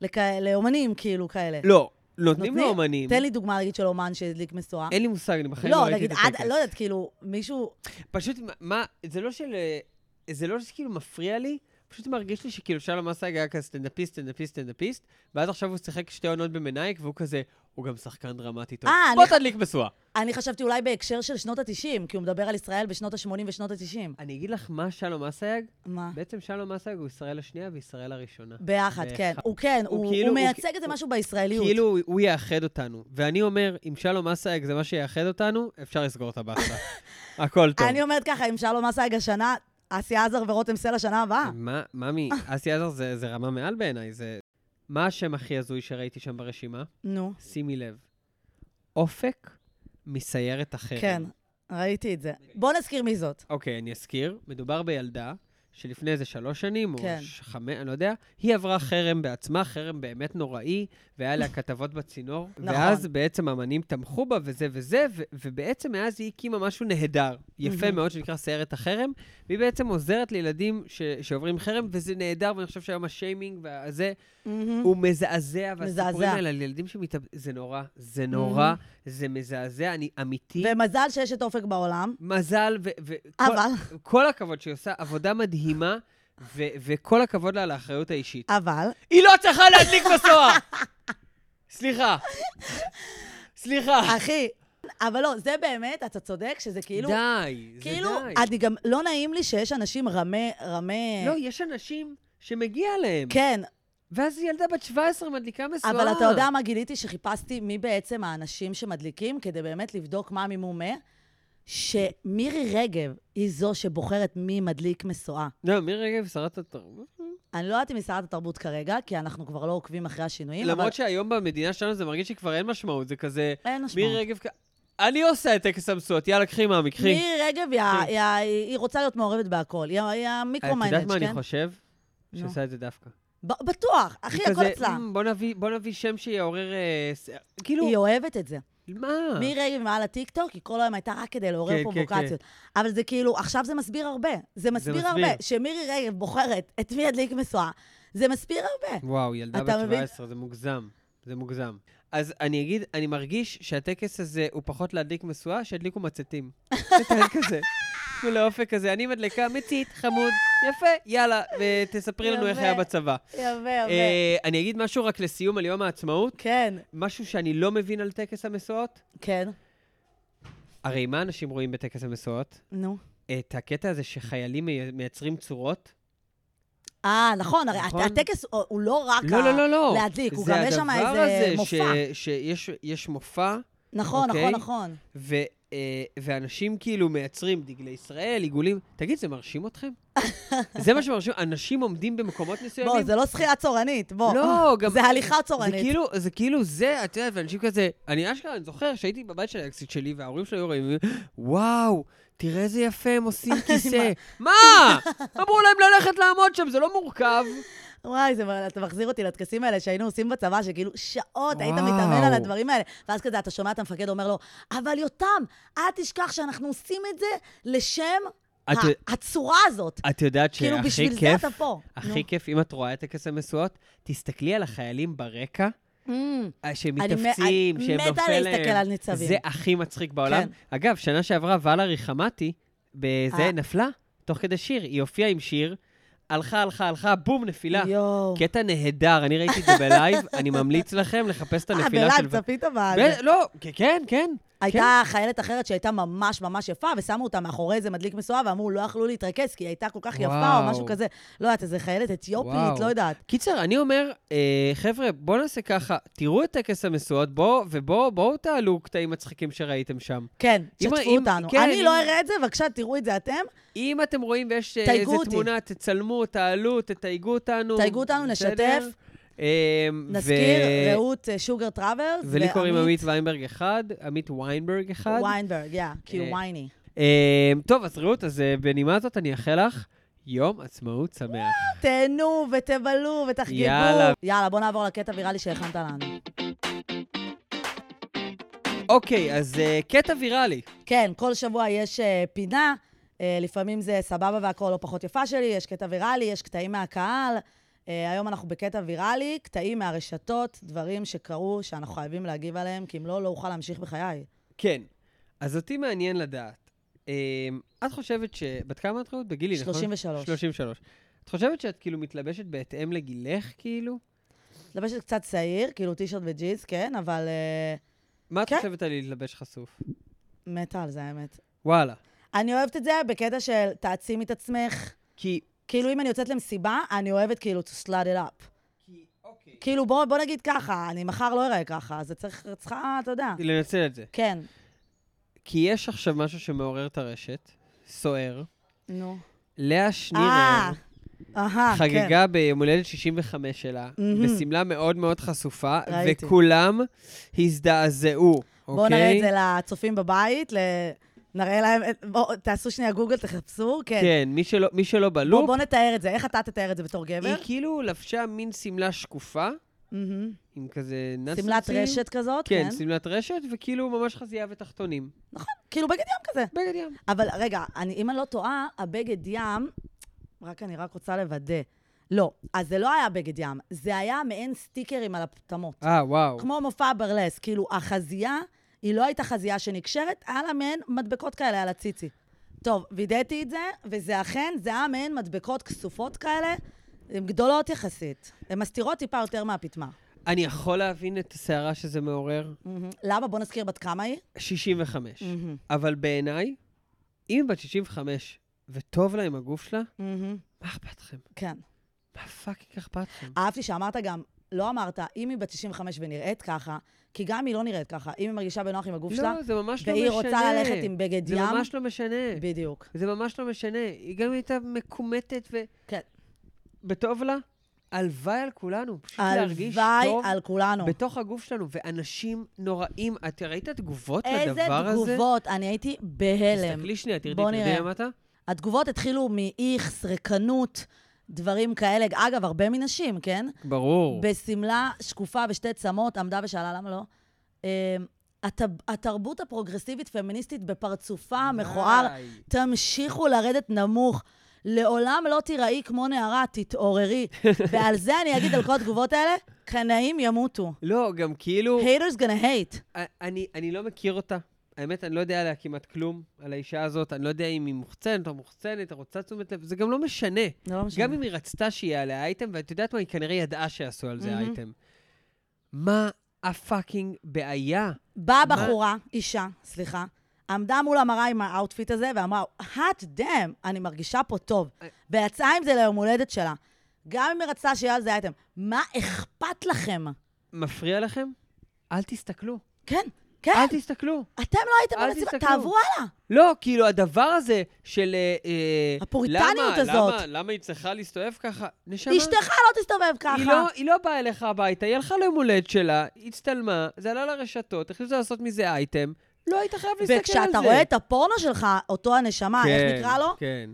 Speaker 1: לכ... לאומנים, כאילו, כאלה.
Speaker 2: לא, נותנים לאומנים.
Speaker 1: תן לי דוגמה, נגיד, של אומן שהדליק משואה.
Speaker 2: אין לי מושג, אני בחיים לא
Speaker 1: לא,
Speaker 2: ראיתי
Speaker 1: נגיד,
Speaker 2: את
Speaker 1: עד,
Speaker 2: הטקס.
Speaker 1: לא יודעת, כאילו, מישהו...
Speaker 2: פשוט, מה- מה, זה לא של... אה, זה לא שכאילו מפריע לי, פשוט מרגיש לי שכאילו שלום אסייג היה כזה סטנדאפיסט, סטנדאפיסט, סטנדאפיסט, ואז עכשיו הוא שיחק שתי עונות במנייק, והוא כזה, הוא גם שחקן דרמטי טוב.
Speaker 1: אה,
Speaker 2: בוא
Speaker 1: אני-
Speaker 2: תדליק משואה.
Speaker 1: אני חשבתי אולי בהקשר של שנות ה-90, כי הוא מדבר על ישראל בשנות ה-80 ושנות ה-90.
Speaker 2: אני אגיד לך מה שלום אסייג,
Speaker 1: מה?
Speaker 2: בעצם שלום אסייג הוא ישראל השנייה וישראל הראשונה.
Speaker 1: ביחד, כן.
Speaker 2: באחד.
Speaker 1: הוא כן,
Speaker 2: הוא
Speaker 1: הוא, הוא,
Speaker 2: כאילו- הוא
Speaker 1: מייצג
Speaker 2: כ-
Speaker 1: איזה
Speaker 2: הוא-
Speaker 1: משהו בישראליות.
Speaker 2: כאילו הוא- הוא יאחד אותנו. ואני אומר, אם שלום אסייג זה מה שיאחד אותנו, אפשר לסגור
Speaker 1: (laughs)
Speaker 2: את הבאסה. הכל טוב.
Speaker 1: אני אומרת ככה, אם שלום אסייג השנה, אסי עזר ורותם סלע שנה הבאה.
Speaker 2: מה, ממי,
Speaker 1: אה.
Speaker 2: אסי עזר זה זה רמה מעל בעיניי, זה... מה השם הכי הזוי שראיתי שם ברשימה?
Speaker 1: נו,
Speaker 2: שימי לב, אופק מסיירת החרם.
Speaker 1: כן, ראיתי את זה. בוא נזכיר מי זאת.
Speaker 2: אוקיי, אני אזכיר, מדובר בילדה שלפני איזה שלוש שנים, או
Speaker 1: כן.
Speaker 2: ש- חמש, אני לא יודע, היא עברה חרם בעצמה, חרם באמת נוראי, והיה לה כתבות בצינור.
Speaker 1: (laughs) נכון.
Speaker 2: ואז בעצם האמנים תמכו בה וזה וזה, ו- ובעצם מאז היא הקימה משהו נהדר, יפה
Speaker 1: מהמם.
Speaker 2: מאוד, שנקרא סיירת החרם, והיא בעצם עוזרת לילדים ש- שעוברים חרם, וזה נהדר, ואני חושב שהיום השיימינג והזה,
Speaker 1: מהמם.
Speaker 2: הוא מזעזע, והסיפורים
Speaker 1: מזעזע.
Speaker 2: האלה על ילדים שמתאב... זה נורא, זה נורא, זה מזעזע, אני אמיתי.
Speaker 1: ומזל שיש את אופק בעולם,
Speaker 2: מזל, ו... ו-
Speaker 1: אבל,
Speaker 2: כל, כל הכבוד שהיא עושה עבודה מדהימה, ו- וכל הכבוד לה על האחריות האישית.
Speaker 1: אבל,
Speaker 2: היא לא צריכה להדליק מסוע! סליחה. סליחה.
Speaker 1: אחי, אבל לא, זה באמת, אתה צודק, שזה כאילו,
Speaker 2: די, זה
Speaker 1: כאילו,
Speaker 2: די.
Speaker 1: אני גם, לא נעים לי שיש אנשים רמי, רמי,
Speaker 2: לא, יש אנשים שמגיע להם,
Speaker 1: כן,
Speaker 2: ואז ילדה בת 17 מדליקה מסועה.
Speaker 1: אבל אתה יודע מה גיליתי? שחיפשתי מי בעצם האנשים שמדליקים, כדי באמת לבדוק מה ממומה, שמירי רגב היא זו שבוחרת מי מדליק מסועה.
Speaker 2: לא, מירי רגב, שרת התרבות.
Speaker 1: אני לא יודעת אם היא שרת התרבות כרגע, כי אנחנו כבר לא עוקבים אחרי השינויים, אבל
Speaker 2: למרות שהיום במדינה שלנו זה מרגיש שכבר אין משמעות, זה כזה...
Speaker 1: אין משמעות.
Speaker 2: מירי רגב... כ- אני עושה את טקס המשואות, יאללה, קחי מאמי, קחי.
Speaker 1: מירי רגב, היא ה- היא ה- היא היא רוצה להיות מעורבת בהכל. היא ה- היא
Speaker 2: את יודעת
Speaker 1: המיקרו-מיינג',
Speaker 2: מה אני
Speaker 1: כן?
Speaker 2: חושב?
Speaker 1: נו.
Speaker 2: שעושה את זה דווקא.
Speaker 1: ב- בטוח, אחי,
Speaker 2: היא
Speaker 1: הכל
Speaker 2: כזה,
Speaker 1: אצלה.
Speaker 2: "מ, בוא נביא, בוא נביא שם שיעורר... אה, ס- כאילו,
Speaker 1: היא אוהבת את זה.
Speaker 2: מה?
Speaker 1: מירי רגב מעל הטיקטוק, היא כל היום הייתה רק כדי לעורר
Speaker 2: כן, כן,
Speaker 1: פרובוקציות. אבל זה כאילו, עכשיו זה מסביר הרבה. זה מסביר
Speaker 2: מסביר.
Speaker 1: הרבה. שמירי רגב בוחרת את מי ידליק משואה, זה מסביר הרבה.
Speaker 2: וואו, ילדה בת
Speaker 1: אתה מבין?
Speaker 2: 17, זה מוגזם. זה מוגזם. אז אני אגיד, אני מרגיש שהטקס הזה הוא פחות להדליק משואה, שידליקו
Speaker 1: (laughs)
Speaker 2: מצתים. זה כזה. תנו לאופק כזה, אני מדליקה מצית, חמוד, יפה, יאללה, ותספרי לנו איך
Speaker 1: יפה.
Speaker 2: היה בצבא.
Speaker 1: יפה, יפה.
Speaker 2: אה, אני אגיד משהו רק לסיום על יום העצמאות,
Speaker 1: כן,
Speaker 2: משהו שאני לא מבין על טקס המשואות.
Speaker 1: כן,
Speaker 2: הרי מה אנשים רואים בטקס המשואות?
Speaker 1: נו.
Speaker 2: את הקטע הזה שחיילים מי- מייצרים צורות.
Speaker 1: אה, נכון, הרי
Speaker 2: נכון.
Speaker 1: הטקס הוא הוא לא רק
Speaker 2: לא,
Speaker 1: ה-
Speaker 2: לא, לא, לא.
Speaker 1: להדליק, הוא
Speaker 2: זה
Speaker 1: גם יש שם
Speaker 2: הדבר
Speaker 1: איזה
Speaker 2: הזה
Speaker 1: מופע.
Speaker 2: ש... שיש יש מופע,
Speaker 1: נכון,
Speaker 2: אוקיי.
Speaker 1: נכון, נכון.
Speaker 2: ו... אה, ואנשים כאילו מייצרים דגלי ישראל, עיגולים. תגיד, זה מרשים
Speaker 1: (laughs)
Speaker 2: אתכם? זה מה שמרשים? אנשים עומדים במקומות מסוימים?
Speaker 1: בוא, זה לא שחייה צורנית, בוא.
Speaker 2: לא, גם...
Speaker 1: זה הליכה
Speaker 2: זה
Speaker 1: צורנית.
Speaker 2: כאילו, זה כאילו זה, את יודעת, ואנשים כזה, אני אשכרה, אני זוכר שהייתי בבית של האקסיט שלי, וההורים שלי היו רואים, וואו, תראה איזה
Speaker 1: (laughs)
Speaker 2: יפה הם עושים כיסא. מה? אמרו להם ללכת לעמוד שם, זה לא מורכב.
Speaker 1: וואי, זה, אתה מחזיר אותי לטקסים האלה שהיינו עושים בצבא, שכאילו שעות היית
Speaker 2: וואו.
Speaker 1: מתאמן על הדברים האלה. ואז כזה, אתה שומע את המפקד אומר לו, אבל יותם, אל תשכח שאנחנו עושים את זה לשם
Speaker 2: את-
Speaker 1: ה- הצורה הזאת.
Speaker 2: את יודעת
Speaker 1: כאילו,
Speaker 2: שהכי
Speaker 1: בשביל זה
Speaker 2: כיף,
Speaker 1: אתה פה.
Speaker 2: הכי
Speaker 1: נו.
Speaker 2: כיף, אם את רואה את טקס המשואות, תסתכלי על החיילים ברקע,
Speaker 1: Mm.
Speaker 2: אה, שהם
Speaker 1: אני מ-
Speaker 2: מתאפצים,
Speaker 1: אני
Speaker 2: שהם
Speaker 1: מתה
Speaker 2: נופל להם.
Speaker 1: להסתכל על ניצבים.
Speaker 2: זה הכי מצחיק בעולם.
Speaker 1: כן.
Speaker 2: אגב, שנה שעברה ולרי חמתי, בזה
Speaker 1: אה.
Speaker 2: נפלה, תוך כדי שיר. היא הופיעה עם שיר, הלכה, הלכה, הלכה, בום, נפילה.
Speaker 1: יואו.
Speaker 2: קטע נהדר, אני ראיתי את זה בלייב, אני ממליץ לכם לחפש את
Speaker 1: אה,
Speaker 2: הנפילה של...
Speaker 1: בלייב צפית אבל.
Speaker 2: ב- לא, כ- כן, כן.
Speaker 1: הייתה חיילת אחרת שהייתה ממש ממש יפה, ושמו אותה מאחורי איזה מדליק משואה, ואמרו, לא יכלו להתרכז, כי היא הייתה כל כך יפה,
Speaker 2: וואו.
Speaker 1: או משהו כזה. לא יודעת, איזה חיילת
Speaker 2: וואו.
Speaker 1: אתיופית, לא יודעת.
Speaker 2: קיצר, אני אומר, אה, חבר'ה, בואו נעשה ככה, תראו את טקס המשואות, בואו, ובואו, בואו תעלו קטעים מצחיקים שראיתם שם.
Speaker 1: כן,
Speaker 2: אם-
Speaker 1: שתפו
Speaker 2: אם-
Speaker 1: אותנו.
Speaker 2: כן,
Speaker 1: אני
Speaker 2: אם-
Speaker 1: לא אראה את זה, בבקשה, תראו את זה אתם.
Speaker 2: אם אתם רואים ויש אה,
Speaker 1: תייגו
Speaker 2: איזה
Speaker 1: אותי.
Speaker 2: תמונה, תצלמו, תעלו, תתייגו אותנו.
Speaker 1: תייגו אותנו,
Speaker 2: בסדר?
Speaker 1: נשתף.
Speaker 2: אה,
Speaker 1: נזכיר,
Speaker 2: ו-
Speaker 1: רעות אה, שוגר טראברס.
Speaker 2: ולי קוראים
Speaker 1: ועמית
Speaker 2: עמית ויינברג אחד, עמית ויינברג אחד.
Speaker 1: ויינברג, יא, כי הוא
Speaker 2: אה,
Speaker 1: וייני.
Speaker 2: אה, טוב, אז רעות, אז אה, בנימה זאת אני אאחל לך יום עצמאות שמח.
Speaker 1: תהנו ותבלו ותחגגו.
Speaker 2: יאללה.
Speaker 1: יאללה, בוא נעבור לקטע ויראלי שהכנת לנו.
Speaker 2: אוקיי, אז אה, קטע ויראלי.
Speaker 1: כן, כל שבוע יש אה, פינה, אה, לפעמים זה סבבה והכל לא פחות יפה שלי, יש קטע ויראלי, יש קטעים מהקהל. אה, היום אנחנו בקטע ויראלי, קטעים מהרשתות, דברים שקרו שאנחנו חייבים להגיב עליהם, כי אם לא, לא אוכל להמשיך בחיי.
Speaker 2: כן. אז אותי מעניין לדעת. אה, את חושבת ש... בת כמה את רעות? בגילי, נכון?
Speaker 1: 33.
Speaker 2: 33. את חושבת שאת כאילו מתלבשת בהתאם לגילך, כאילו?
Speaker 1: מתלבשת קצת צעיר, כאילו טישרט וג'יז, כן, אבל אה,
Speaker 2: מה את
Speaker 1: כן.
Speaker 2: חושבת על להתלבש חשוף?
Speaker 1: מתה על זה, האמת.
Speaker 2: וואלה.
Speaker 1: אני אוהבת את זה בקטע של תעצים את עצמך.
Speaker 2: כי...
Speaker 1: כאילו, אם אני יוצאת למסיבה, אני אוהבת כאילו to slut it up.
Speaker 2: כי... אוקיי.
Speaker 1: כאילו, בוא, בוא נגיד ככה, אני מחר לא אראה ככה, אז זה צריך, צריכה, אתה יודע.
Speaker 2: לנצל את זה.
Speaker 1: כן.
Speaker 2: כי יש עכשיו משהו שמעורר את הרשת, סוער.
Speaker 1: נו.
Speaker 2: לאה
Speaker 1: אה,
Speaker 2: שנירר
Speaker 1: אהה, כן.
Speaker 2: חגגה ביום הולדת 65 שלה,
Speaker 1: מהמם.
Speaker 2: בשמלה מאוד מאוד חשופה,
Speaker 1: ראיתי.
Speaker 2: וכולם הזדעזעו, אוקיי?
Speaker 1: בואו נראה את זה לצופים בבית, ל- נראה להם, בואו, תעשו שנייה גוגל, תחפשו, כן.
Speaker 2: כן, מי שלא- מי שלא
Speaker 1: בואו
Speaker 2: בלופ,
Speaker 1: בוא נתאר את זה, איך אתה תתאר את זה בתור גבר?
Speaker 2: היא כאילו לבשה מין שמלה שקופה,
Speaker 1: מהמם.
Speaker 2: עם כזה נצנצים.
Speaker 1: שמלת רשת כזאת,
Speaker 2: כן,
Speaker 1: כן.
Speaker 2: שמלת רשת, וכאילו ממש חזייה ותחתונים.
Speaker 1: כאילו בגד ים כזה.
Speaker 2: בגד ים.
Speaker 1: אבל רגע, אני, אם אני לא טועה, הבגד ים, רק אני רק רוצה לוודא. לא, אז זה לא היה בגד ים, זה היה מעין סטיקרים על הפטמות.
Speaker 2: אה, וואו.
Speaker 1: כמו מופע ברלס, כאילו החזייה, היא לא הייתה חזייה שנקשרת, היה לה מעין מדבקות כאלה על הציצי. טוב, וידאתי את זה, וזה אכן, זה היה מעין מדבקות כסופות כאלה, הן גדולות יחסית. הן מסתירות טיפה יותר מהפטמה.
Speaker 2: אני יכול להבין את הסערה שזה מעורר?
Speaker 1: מהמם. למה? בוא נזכיר בת כמה היא.
Speaker 2: 65.
Speaker 1: מהמם.
Speaker 2: אבל בעיניי, אם היא בת 65 וטוב לה עם הגוף שלה,
Speaker 1: מהמם.
Speaker 2: מה אכפת לכם?
Speaker 1: כן.
Speaker 2: מה פאקינג אכפת לכם?
Speaker 1: אהבתי שאמרת גם, לא אמרת, אם היא בת 65 ונראית ככה, כי גם אם היא לא נראית ככה, אם היא מרגישה בנוח עם הגוף שלה,
Speaker 2: לא, זה ממש לא משנה.
Speaker 1: והיא רוצה ללכת עם בגד
Speaker 2: זה
Speaker 1: ים,
Speaker 2: ממש לא משנה.
Speaker 1: בדיוק.
Speaker 2: זה ממש לא משנה. היא גם הייתה מקומטת ו...
Speaker 1: כן.
Speaker 2: בטוב לה, הלוואי על כולנו. פשוט להרגיש
Speaker 1: הלוואי
Speaker 2: טוב
Speaker 1: על כולנו.
Speaker 2: בתוך הגוף שלנו. ואנשים נוראים. את ראית תגובות
Speaker 1: איזה
Speaker 2: לדבר הזה?
Speaker 1: תגובות, אני הייתי בהלם.
Speaker 2: תסתכלי שנייה, תרדי,
Speaker 1: בוא
Speaker 2: תרדי
Speaker 1: נראה.
Speaker 2: למטה.
Speaker 1: התגובות התחילו מאיכס, ריקנות, דברים כאלה. אגב, הרבה מנשים, כן?
Speaker 2: ברור.
Speaker 1: בשמלה שקופה בשתי צמות, עמדה ושאלה למה לא. אמ, הת- התרבות הפרוגרסיבית-פמיניסטית בפרצופה
Speaker 2: אה.
Speaker 1: המכוער,
Speaker 2: די.
Speaker 1: תמשיכו לרדת נמוך. לעולם לא תיראי כמו נערה,
Speaker 2: (laughs)
Speaker 1: תתעוררי. ועל זה אני אגיד על כל התגובות האלה, קנאים ימותו.
Speaker 2: לא, גם כאילו...
Speaker 1: haters gonna hate.
Speaker 2: אני, אני לא מכיר אותה. האמת, אני לא יודע עליה כמעט כלום, על האישה הזאת. אני לא יודע אם היא מוחצנת או מוחצנת, או רוצה תשומת לב, זה גם לא משנה.
Speaker 1: זה לא משנה.
Speaker 2: גם אם היא רצתה שיהיה עליה אייטם, ואת יודעת מה, היא כנראה ידעה שיעשו על זה
Speaker 1: מהמם.
Speaker 2: אייטם. מה הפאקינג בעיה?
Speaker 1: באה
Speaker 2: מה-
Speaker 1: בחורה, אישה, סליחה, עמדה מול המראה עם האאוטפיט הזה ואמרה, hot damn, אני מרגישה פה טוב.
Speaker 2: אה.
Speaker 1: ויצאה עם זה ליום הולדת שלה. גם אם היא רצתה שיהיה על זה אייטם, מה אכפת לכם?
Speaker 2: מפריע לכם? אל תסתכלו.
Speaker 1: כן, כן,
Speaker 2: אל תסתכלו.
Speaker 1: אתם לא הייתם
Speaker 2: אל
Speaker 1: במסיבה,
Speaker 2: תסתכלו.
Speaker 1: תעברו הלאה.
Speaker 2: לא, כאילו, הדבר הזה של... אה, אה,
Speaker 1: הפוריטניות
Speaker 2: למה,
Speaker 1: הזאת.
Speaker 2: למה, למה היא צריכה להסתובב ככה? נשמה.
Speaker 1: אשתך לא תסתובב ככה.
Speaker 2: היא לא, היא לא באה אליך הביתה, היא הלכה ליום הולדת שלה, היא הצטלמה, זה עלה לרשתות, החליטו לעשות מזה אייטם, לא היית חייב להסתכל על זה.
Speaker 1: וכשאתה רואה את הפורנו שלך, אותו הנשמה, איך נקרא לו?
Speaker 2: כן.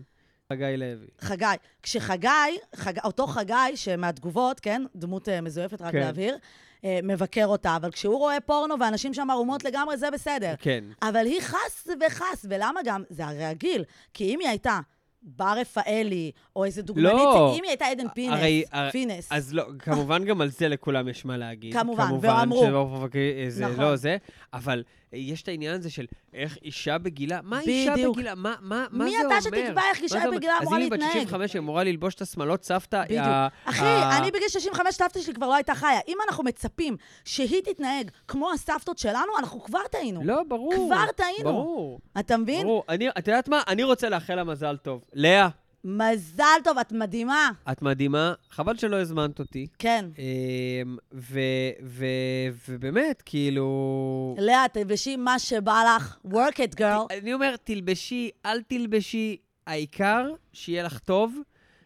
Speaker 2: חגי לוי.
Speaker 1: חגי. כשחגי, חג... אותו חגי שמהתגובות, כן, דמות אה, מזויפת, רק
Speaker 2: כן.
Speaker 1: להבהיר, אה, מבקר אותה, אבל כשהוא רואה פורנו ואנשים שם ערומות לגמרי, זה בסדר.
Speaker 2: כן.
Speaker 1: אבל היא חס וחס, ולמה גם? זה הרי הגיל. כי אם היא הייתה בר רפאלי, או איזה דוגמנית,
Speaker 2: לא.
Speaker 1: אם היא הייתה עדן פינס,
Speaker 2: הרי- הר-
Speaker 1: פינס.
Speaker 2: אז לא, כמובן גם על זה לכולם יש מה להגיד.
Speaker 1: כמובן, ואמרו.
Speaker 2: כמובן, שלא פרובוקי- אה, זה
Speaker 1: נכון.
Speaker 2: לא זה, אבל אה, יש את העניין הזה של איך אישה בגילה, מה אישה
Speaker 1: בדיוק.
Speaker 2: בגילה, מה מה- מה
Speaker 1: מי
Speaker 2: זה אומר?
Speaker 1: אתה שתקבע איך
Speaker 2: מה זה
Speaker 1: אישה
Speaker 2: אומר?
Speaker 1: בגילה אמורה
Speaker 2: אז אם היא בת
Speaker 1: להתנהג?
Speaker 2: 65, היא אמורה ללבוש את השמלות סבתא. אה,
Speaker 1: בדיוק.
Speaker 2: ה-
Speaker 1: אחי,
Speaker 2: ה-
Speaker 1: אני בגיל 65, סבתא שלי כבר לא הייתה חיה. אם אנחנו מצפים שהיא תתנהג כמו הסבתות שלנו, אנחנו כבר טעינו.
Speaker 2: לא, ברור.
Speaker 1: כבר טעינו.
Speaker 2: ברור.
Speaker 1: אתה מבין?
Speaker 2: ברור. אני- את יודעת מה? אני רוצה לאחל לה מזל טוב. לאה,
Speaker 1: מזל טוב, את מדהימה.
Speaker 2: את מדהימה, חבל שלא הזמנת אותי.
Speaker 1: כן.
Speaker 2: אמ, ו- ו- ובאמת, כאילו...
Speaker 1: לאה, תלבשי מה שבא לך. work it, girl.
Speaker 2: אני אומר, תלבשי, אל תלבשי, העיקר שיהיה לך טוב,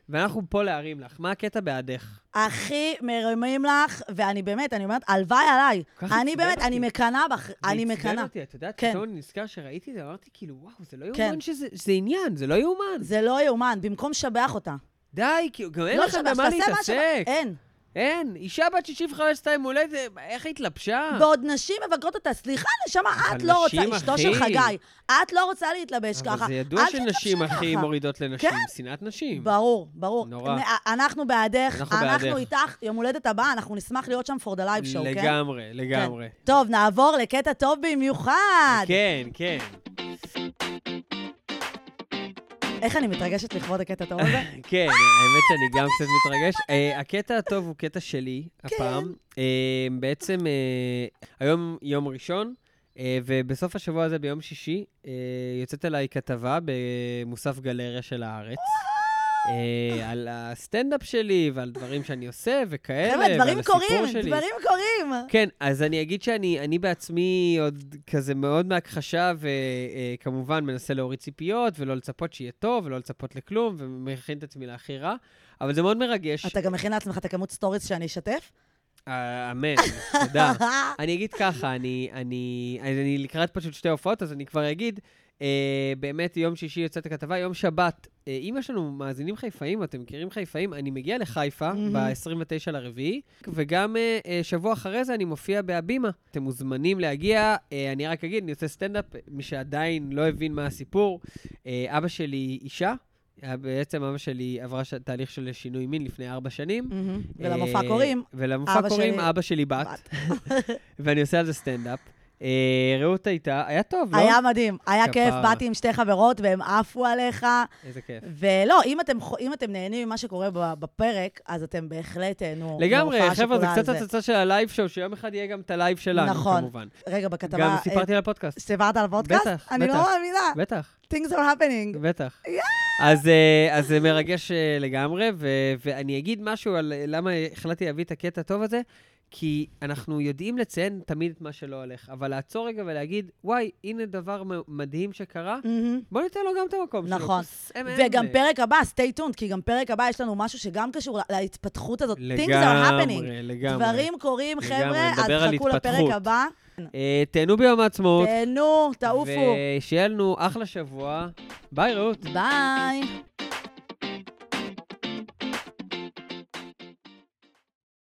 Speaker 2: ואנחנו פה להרים לך. מה הקטע בעדך?
Speaker 1: הכי מרימים לך, ואני באמת, אני אומרת, הלוואי עליי.
Speaker 2: כך
Speaker 1: אני
Speaker 2: עצבן
Speaker 1: באמת,
Speaker 2: אותי.
Speaker 1: אני מקנאה בך, אני
Speaker 2: זה עצבן
Speaker 1: מקנאה.
Speaker 2: אותי, את יודעת,
Speaker 1: כן.
Speaker 2: פתאום אני נזכר שראיתי את זה, אמרתי כאילו, וואו, זה לא
Speaker 1: כן.
Speaker 2: יאומן שזה זה עניין, זה לא יאומן.
Speaker 1: זה לא יאומן, במקום לשבח אותה.
Speaker 2: די, כאילו, גם אין
Speaker 1: לא
Speaker 2: לכם במה
Speaker 1: תעשה מה שבא-
Speaker 2: להתעסק.
Speaker 1: אין.
Speaker 2: אין, אישה בת 65 סתם הולדת, איך התלבשה?
Speaker 1: בעוד נשים מבקרות אותה, סליחה, נשמה, את
Speaker 2: אבל
Speaker 1: לא רוצה,
Speaker 2: נשים,
Speaker 1: אשתו
Speaker 2: אחי.
Speaker 1: של חגי, את לא רוצה להתלבש ככה.
Speaker 2: אבל זה ידוע
Speaker 1: אל
Speaker 2: שנשים,
Speaker 1: תתלבשי
Speaker 2: אחי,
Speaker 1: ככה.
Speaker 2: מורידות לנשים.
Speaker 1: כן.
Speaker 2: שנאת נשים.
Speaker 1: ברור, ברור.
Speaker 2: נורא.
Speaker 1: נ- אנחנו בעדך,
Speaker 2: אנחנו
Speaker 1: אנחנו
Speaker 2: בעדך.
Speaker 1: איתך, יום הולדת הבא, אנחנו נשמח להיות שם for the live show, כן?
Speaker 2: לגמרי, לגמרי.
Speaker 1: כן. טוב, נעבור לקטע טוב במיוחד.
Speaker 2: כן, כן.
Speaker 1: איך אני מתרגשת לכבוד הקטע הטוב הזה?
Speaker 2: כן, האמת שאני גם קצת מתרגש. אה, הקטע הטוב הוא קטע שלי,
Speaker 1: כן.
Speaker 2: הפעם. אה, בעצם, אה, היום יום ראשון, אה, ובסוף השבוע הזה, ביום שישי, אה, יוצאת אליי כתבה במוסף גלריה של הארץ. אה, על הסטנדאפ שלי ועל דברים שאני עושה וכאלה,
Speaker 1: חבר'ה, דברים
Speaker 2: ועל הסיפור
Speaker 1: קורים,
Speaker 2: שלי.
Speaker 1: דברים קורים.
Speaker 2: כן, אז אני אגיד שאני אני בעצמי עוד כזה מאוד מהכחשה, וכמובן מנסה להוריד ציפיות, ולא לצפות שיהיה טוב, ולא לצפות לכלום, ומכין את עצמי להכי רע, אבל זה מאוד מרגש.
Speaker 1: אתה גם מכין לעצמך את הכמות סטוריס שאני אשתף?
Speaker 2: אה, אמן,
Speaker 1: (laughs)
Speaker 2: תודה. אה, אני אגיד ככה, אני, אני, אני, אני לקראת פשוט שתי הופעות, אז אני כבר אגיד, אה, באמת יום שישי יוצאת הכתבה, יום שבת. אה, אם יש לנו מאזינים חיפאים, אתם מכירים חיפאים, אני מגיע לחיפה
Speaker 1: מהמם.
Speaker 2: ב-29 לרביעי, וגם אה, אה, שבוע אחרי זה אני מופיע בהבימה. אתם מוזמנים להגיע, אה, אני רק אגיד, אני עושה סטנדאפ, מי שעדיין לא הבין מה הסיפור, אה, אבא שלי אישה. אה, בעצם אבא שלי עברה ש- תהליך של שינוי מין לפני ארבע שנים.
Speaker 1: מהמם. ולמופע
Speaker 2: אה,
Speaker 1: קוראים. אבא
Speaker 2: ולמופע קוראים
Speaker 1: שלי-
Speaker 2: אבא שלי בת, (laughs) ואני עושה על זה סטנדאפ. אה, רעות הייתה, היה טוב, לא?
Speaker 1: היה מדהים, היה כיף,
Speaker 2: כפרה.
Speaker 1: באתי עם שתי חברות והן עפו עליך.
Speaker 2: איזה כיף.
Speaker 1: ולא, אם אתם, חו- אם אתם נהנים ממה שקורה ב- בפרק, אז אתם בהחלט אה, תהנו.
Speaker 2: לגמרי,
Speaker 1: מההופעה
Speaker 2: חבר'ה, זה
Speaker 1: שכולה
Speaker 2: קצת
Speaker 1: על
Speaker 2: הצצה של הלייב שואו, שיום אחד יהיה גם את הלייב שלנו,
Speaker 1: נכון.
Speaker 2: כמובן.
Speaker 1: רגע, בכתבה...
Speaker 2: גם
Speaker 1: אה,
Speaker 2: סיפרתי על הפודקאסט.
Speaker 1: סיפרת על וודקאסט?
Speaker 2: בטח,
Speaker 1: אני לא
Speaker 2: בטח.
Speaker 1: מאמינה.
Speaker 2: בטח,
Speaker 1: things are happening.
Speaker 2: בטח.
Speaker 1: יאה.
Speaker 2: אז, אה, אז זה מרגש אה, לגמרי, ו- ואני אגיד משהו על אה, למה החלטתי להביא את הקטע הטוב הזה, כי אנחנו יודעים לציין תמיד את מה שלא הולך, אבל לעצור רגע ולהגיד, וואי, הנה דבר מ- מדהים שקרה,
Speaker 1: מהמם.
Speaker 2: בוא ניתן לו גם את המקום שלו.
Speaker 1: נכון.
Speaker 2: סמל.
Speaker 1: וגם פרק הבא, stay tuned, כי גם פרק הבא יש לנו משהו שגם קשור לה- להתפתחות הזאת. things are happening.
Speaker 2: לגמרי, לגמרי.
Speaker 1: דברים קורים,
Speaker 2: לגמרי,
Speaker 1: חבר'ה, אז
Speaker 2: נדבר על
Speaker 1: חכו לפרק
Speaker 2: התפתחות.
Speaker 1: הבא.
Speaker 2: אה, תהנו ביום העצמאות.
Speaker 1: תהנו, תעופו.
Speaker 2: ושיהיה לנו אחלה שבוע. ביי, רעות.
Speaker 1: ביי.